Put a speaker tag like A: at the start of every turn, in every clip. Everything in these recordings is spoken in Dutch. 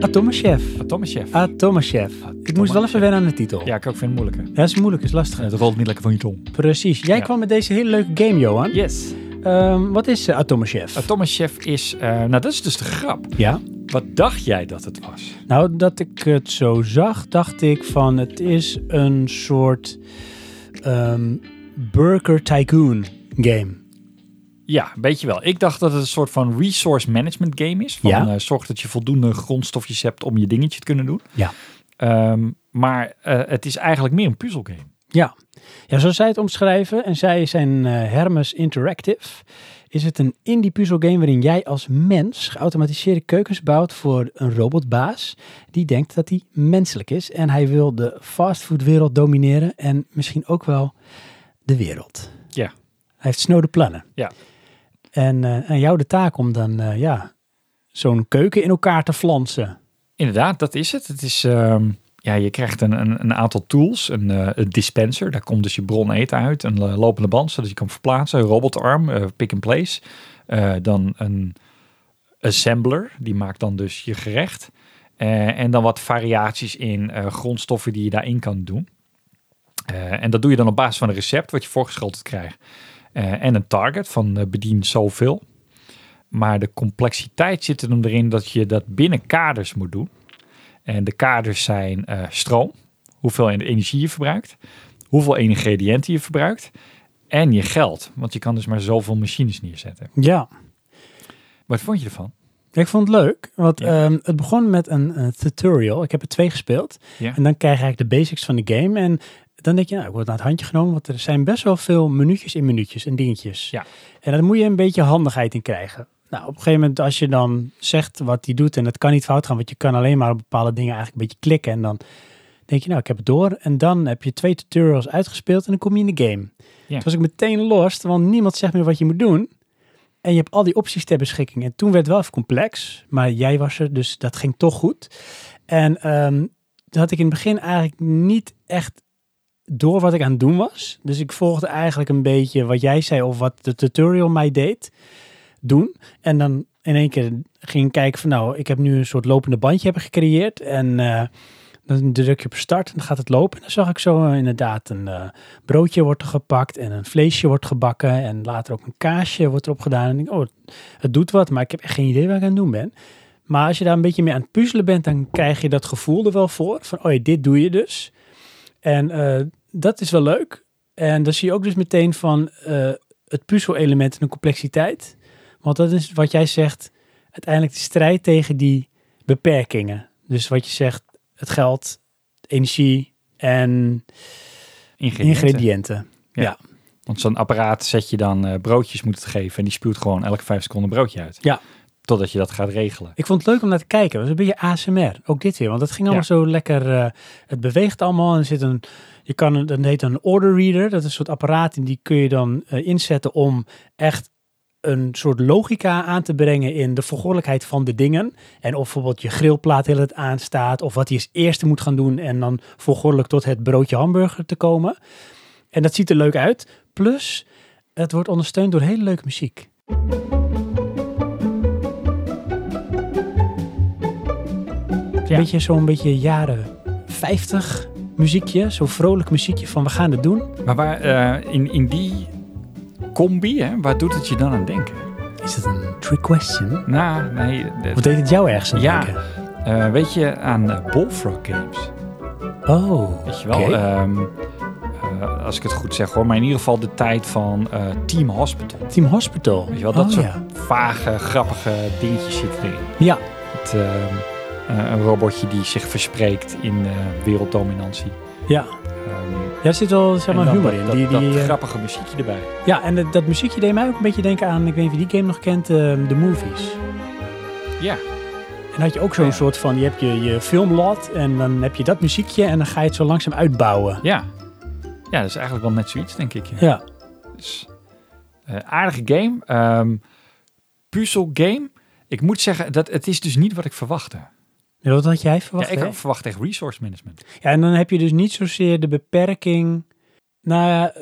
A: Atomchef.
B: Atomenchef.
A: Atomchef. Ik moest wel even wennen aan de titel.
B: Ja, ik ook vind het moeilijker.
A: Dat is moeilijk, is lastig.
B: Het Eh, rolt niet lekker van je tong.
A: Precies. Jij
B: Ja.
A: kwam met deze hele leuke game, Johan.
B: Yes.
A: Ehm, wat is uh, Atomchef?
B: Atomenchef is... eh, nou, dat is dus de grap.
A: ja.
B: Wat dacht jij dat het was?
A: Nou, dat ik het zo zag, dacht ik van het is een soort ehm, Burger Tycoon game.
B: Ja, weet je wel. Ik dacht dat het een soort van resource management game is. Van,
A: Ja.
B: eh, zorg dat je voldoende grondstofjes hebt om je dingetje te kunnen doen.
A: Ja.
B: Ehm, maar eh, het is eigenlijk meer een puzzelgame.
A: Ja. ja, zoals zij het omschrijven, en zij zijn eh, Hermes Interactive, is het een indie puzzelgame waarin jij als mens geautomatiseerde keukens bouwt voor een robotbaas die denkt dat hij menselijk is en hij wil de fastfoodwereld domineren en misschien ook wel de wereld.
B: Ja.
A: Hij heeft snode plannen.
B: Ja.
A: En eh aan jou de taak om dan eh, ja, zo'n keuken in elkaar te flansen.
B: Inderdaad, dat is het. Het is... ehm, ja, je krijgt een, een, een aantal tools. Een, eh, een dispenser, daar komt dus je bron eten uit. Een eh, lopende band, zodat je kan verplaatsen. Een robotarm, eh, pick and place. Eh, dan een assembler, die maakt dan dus je gerecht. Eh, en dan wat variaties in eh, grondstoffen die je daarin kan doen. Eh, en dat doe je dan op basis van een recept wat je voorgeschoteld krijgt. Eh, en een target van eh, bedien zoveel. Maar de complexiteit zit er dan erin dat je dat binnen kaders moet doen. En de kaders zijn eh, stroom, hoeveel en- energie je verbruikt, hoeveel ingrediënten je verbruikt en je geld. Want je kan dus maar zoveel machines neerzetten.
A: Ja.
B: Wat vond je ervan?
A: Ik vond het leuk, want
B: Ja.
A: ehm, het begon met een eh, tutorial. Ik heb er twee gespeeld.
B: Ja.
A: En dan krijg je eigenlijk de basics van de game. En dan denk je, nou, ik word naar het handje genomen, want er zijn best wel veel minuutjes in minuutjes en dingetjes.
B: Ja.
A: En daar moet je een beetje handigheid in krijgen. Nou, op een gegeven moment, als je dan zegt wat hij doet, en dat kan niet fout gaan, want je kan alleen maar op bepaalde dingen eigenlijk een beetje klikken. En dan denk je, nou, ik heb het door. En dan heb je twee tutorials uitgespeeld en dan kom je in de game.
B: Ja.
A: Toen was ik meteen lost, want niemand zegt meer wat je moet doen. En je hebt al die opties ter beschikking. En toen werd het wel even complex, maar jij was er, dus dat ging toch goed. En ehm, toen had ik in het begin eigenlijk niet echt door wat ik aan het doen was. Dus ik volgde eigenlijk een beetje wat jij zei of wat de tutorial mij deed doen. En dan in één keer ging ik kijken van nou, ik heb nu een soort lopende bandje hebben gecreëerd. En eh, dan druk je op start en dan gaat het lopen. En dan zag ik zo eh, inderdaad een eh, broodje wordt er gepakt en een vleesje wordt gebakken. En later ook een kaasje wordt erop gedaan. En ik denk, oh, het doet wat, maar ik heb echt geen idee wat ik aan het doen ben. Maar als je daar een beetje mee aan het puzzelen bent, dan krijg je dat gevoel er wel voor. Van, oh ja, dit doe je dus. En eh, dat is wel leuk. En dan zie je ook dus meteen van eh, het puzzelelement en de complexiteit. Want dat is wat jij zegt, uiteindelijk de strijd tegen die beperkingen. Dus wat je zegt, het geld, energie en
B: Ingrediënten.
A: ingrediënten.
B: Want zo'n apparaat zet je dan eh, broodjes moet het geven en die spuwt gewoon elke vijf seconden een broodje uit.
A: Ja.
B: Totdat je dat gaat regelen.
A: Ik vond het leuk om naar te kijken. Het was een beetje ASMR. Ook dit weer. Want het ging allemaal zo lekker. eh, het beweegt allemaal. En er zit een. Je kan een, dat heet een order reader. Dat is een soort apparaat. En die kun je dan eh, inzetten om echt een soort logica aan te brengen in de vergoorlijkheid van de dingen. En of bijvoorbeeld je grillplaat heel het aanstaat. Of wat hij als eerste moet gaan doen. En dan volgordelijk tot het broodje hamburger te komen. En dat ziet er leuk uit. Plus, het wordt ondersteund door hele leuke muziek.
B: Ja.
A: Beetje zo'n beetje jaren 50 muziekje. Zo'n vrolijk muziekje van we gaan het doen.
B: Maar waar, eh, in, in die combi, hè, waar doet het je dan aan denken?
A: Is het een trick question?
B: Nou, nee.
A: Of
B: de-
A: deed het jou ergens aan
B: Ja.
A: denken?
B: eh, weet je aan eh, Bullfrog Games?
A: Oh,
B: Weet je wel,
A: Oké.
B: ehm, eh, als ik het goed zeg hoor, maar in ieder geval de tijd van eh, Team Hospital.
A: Team Hospital.
B: Weet je wel, dat
A: oh,
B: soort
A: ja.
B: vage, grappige dingetjes zitten erin.
A: ja,
B: Het, ehm, eh, een robotje die zich verspreekt in eh, werelddominantie.
A: ja.
B: Ehm,
A: Ja, er zit wel zeg
B: en
A: maar
B: dan
A: humor
B: dat-
A: in.
B: Dat,
A: die, die,
B: dat
A: eh,
B: grappige muziekje erbij.
A: ja, en dat, dat muziekje deed mij ook een beetje denken aan, ik weet niet of je die game nog kent, de The Movies.
B: Ja,
A: En dan had je ook zo'n
B: Ja.
A: soort van, je hebt je, je filmlot en dan heb je dat muziekje en dan ga je het zo langzaam uitbouwen.
B: ja. Ja, dat is eigenlijk wel net zoiets, denk ik. ja.
A: Ja,
B: Dus, eh, aardige game. ehm puzzel game. Ik moet zeggen, dat, het is dus niet wat ik verwachtte.
A: Ja, wat had jij verwacht?
B: ja, ik
A: hè?
B: had verwacht echt resource management.
A: Ja, en dan heb je dus niet zozeer de beperking. Nou ja,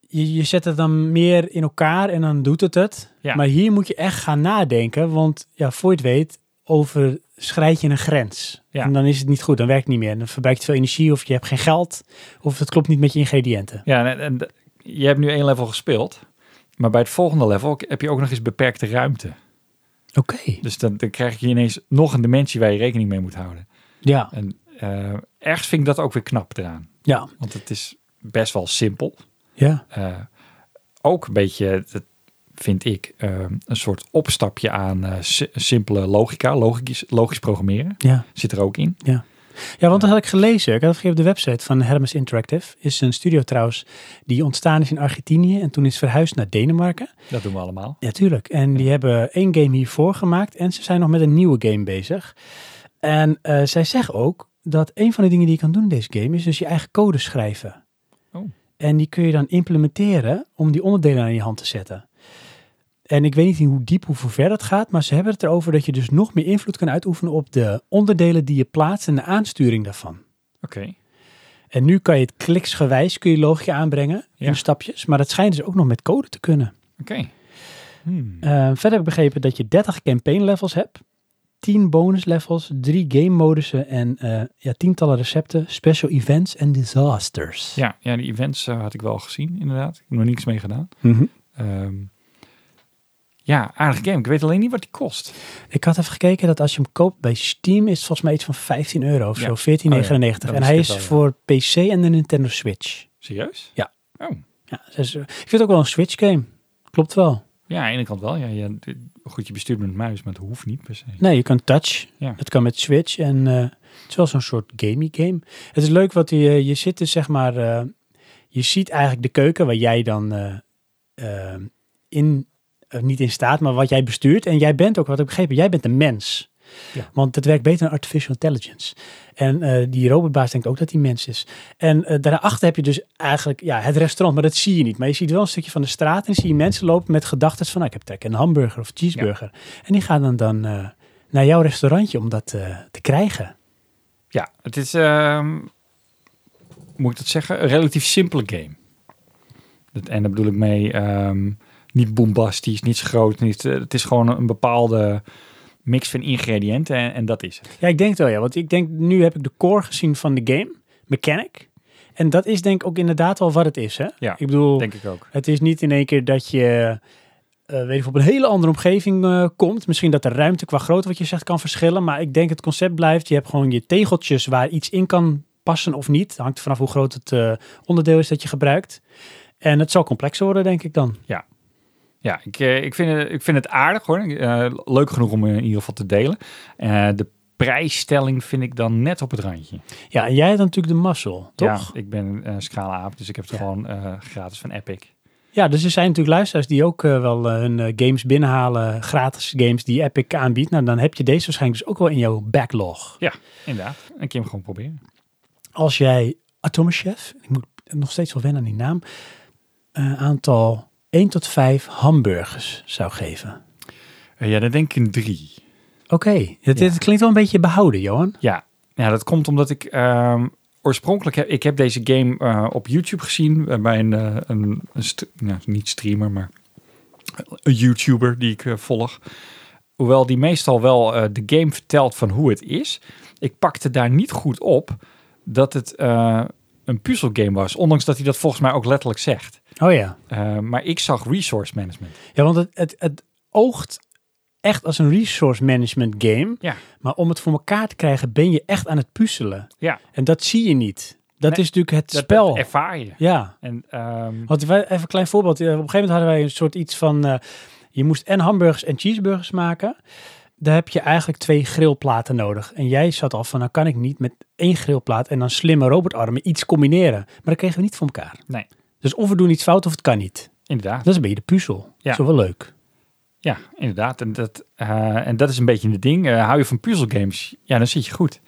A: je, je zet het dan meer in elkaar en dan doet het het.
B: Ja.
A: Maar hier moet je echt gaan nadenken, want ja, voor je het weet, over schrijd je een grens.
B: Ja.
A: En dan is het niet goed, dan werkt het niet meer. Dan verbruikt het veel energie of je hebt geen geld of het klopt niet met je ingrediënten.
B: Ja, en, en d- je hebt nu één level gespeeld. Maar bij het volgende level heb je ook nog eens beperkte ruimte.
A: Oké.
B: Dus dan, dan krijg je ineens nog een dimensie waar je rekening mee moet houden.
A: Ja,
B: En eh, ergens vind ik dat ook weer knap eraan.
A: ja,
B: Want het is best wel simpel.
A: ja.
B: Eh, ook een beetje, dat vind ik, eh, een soort opstapje aan eh, si- simpele logica. Logisch, logisch programmeren
A: Ja.
B: zit er ook in.
A: Ja, want dat had ik gelezen. Ik had het gegeven op de website van Hermes Interactive. Is een studio trouwens die ontstaan is in Argentinië en toen is verhuisd naar Denemarken.
B: Dat doen we allemaal.
A: Ja, tuurlijk. En die hebben één game hiervoor gemaakt en ze zijn nog met een nieuwe game bezig. En eh, zij zeggen ook dat een van de dingen die je kan doen in deze game is dus je eigen code schrijven.
B: Oh.
A: En die kun je dan implementeren om die onderdelen aan je hand te zetten. En ik weet niet in hoe diep, hoe ver dat gaat, maar ze hebben het erover dat je dus nog meer invloed kan uitoefenen op de onderdelen die je plaatst en de aansturing daarvan.
B: Oké.
A: En nu kan je het kliksgewijs, kun je logica aanbrengen
B: Ja.
A: in stapjes. Maar dat schijnt dus ook nog met code te kunnen.
B: Oké. Hmm.
A: Eh, verder heb ik begrepen dat je 30 campaign levels hebt. 10 bonus levels, 3 game modussen en eh, ja, tientallen recepten, special events en disasters.
B: Ja, ja, die events eh, had ik wel gezien, inderdaad. Ik heb nog niks mee gedaan.
A: Mhm.
B: Ehm, ja, aardig game. Ik weet alleen niet wat die kost.
A: Ik had even gekeken dat als je hem koopt bij Steam is het volgens mij iets van 15 euro of
B: Ja.
A: zo, 14,99.
B: Oh ja, dat
A: en hij is
B: is het al, ja.
A: voor PC en de Nintendo Switch.
B: Serieus?
A: Ja.
B: Oh,
A: Ja, dus, eh, ik vind het ook wel een Switch game. Klopt wel.
B: ja, aan de ene kant wel. Ja, ja, d- goed, je bestuurt met muis, maar het hoeft niet per se.
A: Nee, je kan touch.
B: Ja.
A: Het kan met Switch. En eh, het is wel zo'n soort gamey game. Het is leuk, want je, je zit dus zeg maar... eh, je ziet eigenlijk de keuken waar jij dan eh, eh, in... eh, niet in staat, maar wat jij bestuurt. En jij bent ook, wat ik begrepen, jij bent een mens.
B: Ja.
A: Want het werkt beter dan artificial intelligence. En eh, die robotbaas denkt ook dat hij mens is. En eh, daarachter heb je dus eigenlijk ja, het restaurant, maar dat zie je niet. Maar je ziet wel een stukje van de straat en dan zie je mensen lopen met gedachten van... nou, ik heb trek in een hamburger of cheeseburger. En die gaan dan, dan eh, naar jouw restaurantje om dat eh, te krijgen.
B: Ja, het is, ehm, moet ik dat zeggen, een relatief simpele game. Dat- En daar bedoel ik mee, ehm, niet bombastisch, niet zo groot. Niet, eh, het is gewoon een bepaalde mix van ingrediënten en, en dat is het.
A: Ja, ik denk het wel, ja. Want ik denk, nu heb ik de core gezien van de game, mechanic. En dat is denk ik ook inderdaad wel wat het is, hè?
B: Ja,
A: ik bedoel,
B: Denk ik ook.
A: het is niet in één keer dat je... eh, weet ik, op een hele andere omgeving eh, komt. Misschien dat de ruimte qua grootte wat je zegt kan verschillen. Maar ik denk het concept blijft. Je hebt gewoon je tegeltjes waar iets in kan passen of niet. Hangt vanaf hoe groot het eh, onderdeel is dat je gebruikt. En het zal complexer worden, denk ik dan.
B: Ja, ik, eh, ik, vind, het- ik vind het aardig hoor. Eh, leuk genoeg om in ieder geval te delen. Eh, de prijsstelling vind ik dan net op het randje.
A: Ja, en jij hebt natuurlijk de mazzel, toch?
B: Ja, ik ben een schala aap, dus ik heb het
A: Ja.
B: gewoon eh, gratis van Epic.
A: Ja, dus er zijn natuurlijk luisteraars die ook eh, wel eh, hun eh, games binnenhalen, gratis games die Epic aanbiedt. Nou, dan heb je deze waarschijnlijk dus ook wel in jouw backlog.
B: Inderdaad. En ik kan hem gewoon proberen.
A: Als jij Atomchef, ik moet nog steeds wel wennen aan die naam, een aantal 1 tot 5 hamburgers zou geven.
B: Eh, ja, dan denk ik een drie.
A: Oké, het,
B: Ja.
A: het klinkt wel een beetje behouden, Johan.
B: Ja, ja dat komt omdat ik ehm, oorspronkelijk heb ik heb deze game eh, op YouTube gezien eh, bij een, eh, een, een st- nou, niet streamer, maar een YouTuber die ik eh, volg. Hoewel die meestal wel eh, de game vertelt van hoe het is. Ik pakte daar niet goed op dat het eh, een puzzelgame was. Ondanks dat hij dat volgens mij ook letterlijk zegt.
A: Oh ja.
B: Eh, maar ik zag resource management.
A: Ja, want het, het, het oogt echt als een resource management game.
B: Ja.
A: Maar om het voor elkaar te krijgen ben je echt aan het puzzelen.
B: Ja.
A: En dat zie je niet. Dat
B: Nee,
A: is natuurlijk het
B: Dat
A: spel.
B: ervaar je.
A: ja.
B: En, ehm,
A: Want wij, even een klein voorbeeld. Eh, Op een gegeven moment hadden wij een soort iets van... eh, je moest en hamburgers en cheeseburgers maken. Daar heb je eigenlijk twee grillplaten nodig. En jij zat al van, nou kan ik niet met één grillplaat... en dan slimme robotarmen iets combineren. Maar dat kregen we niet voor elkaar.
B: Nee.
A: Dus of we doen iets fout of het kan niet.
B: inderdaad.
A: Dat is een beetje de puzzel.
B: Ja.
A: Dat is wel leuk.
B: Ja, inderdaad. En dat, eh, en dat is een beetje het ding. Eh, hou je van puzzelgames? Ja, dan zit je goed.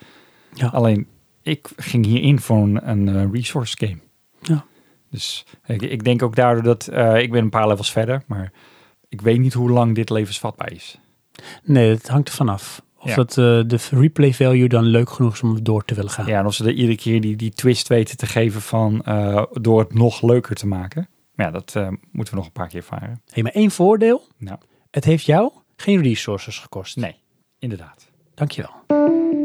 A: Ja.
B: Alleen, ik ging hierin voor een, een, eh, resource game.
A: Ja.
B: Dus ik, ik denk ook daardoor dat... eh, ik ben een paar levels verder, maar ik weet niet hoe lang dit levensvatbaar is.
A: Nee, het hangt er vanaf. Of
B: Ja.
A: dat eh, de replay value dan leuk genoeg is om door te willen gaan.
B: Ja, en of ze er iedere keer die, die twist weten te geven van... eh, door het nog leuker te maken. Maar ja, dat eh, moeten we nog een paar keer varen.
A: Hey, maar één voordeel.
B: Nou.
A: Het heeft jou geen resources gekost.
B: Nee, inderdaad.
A: Dankjewel.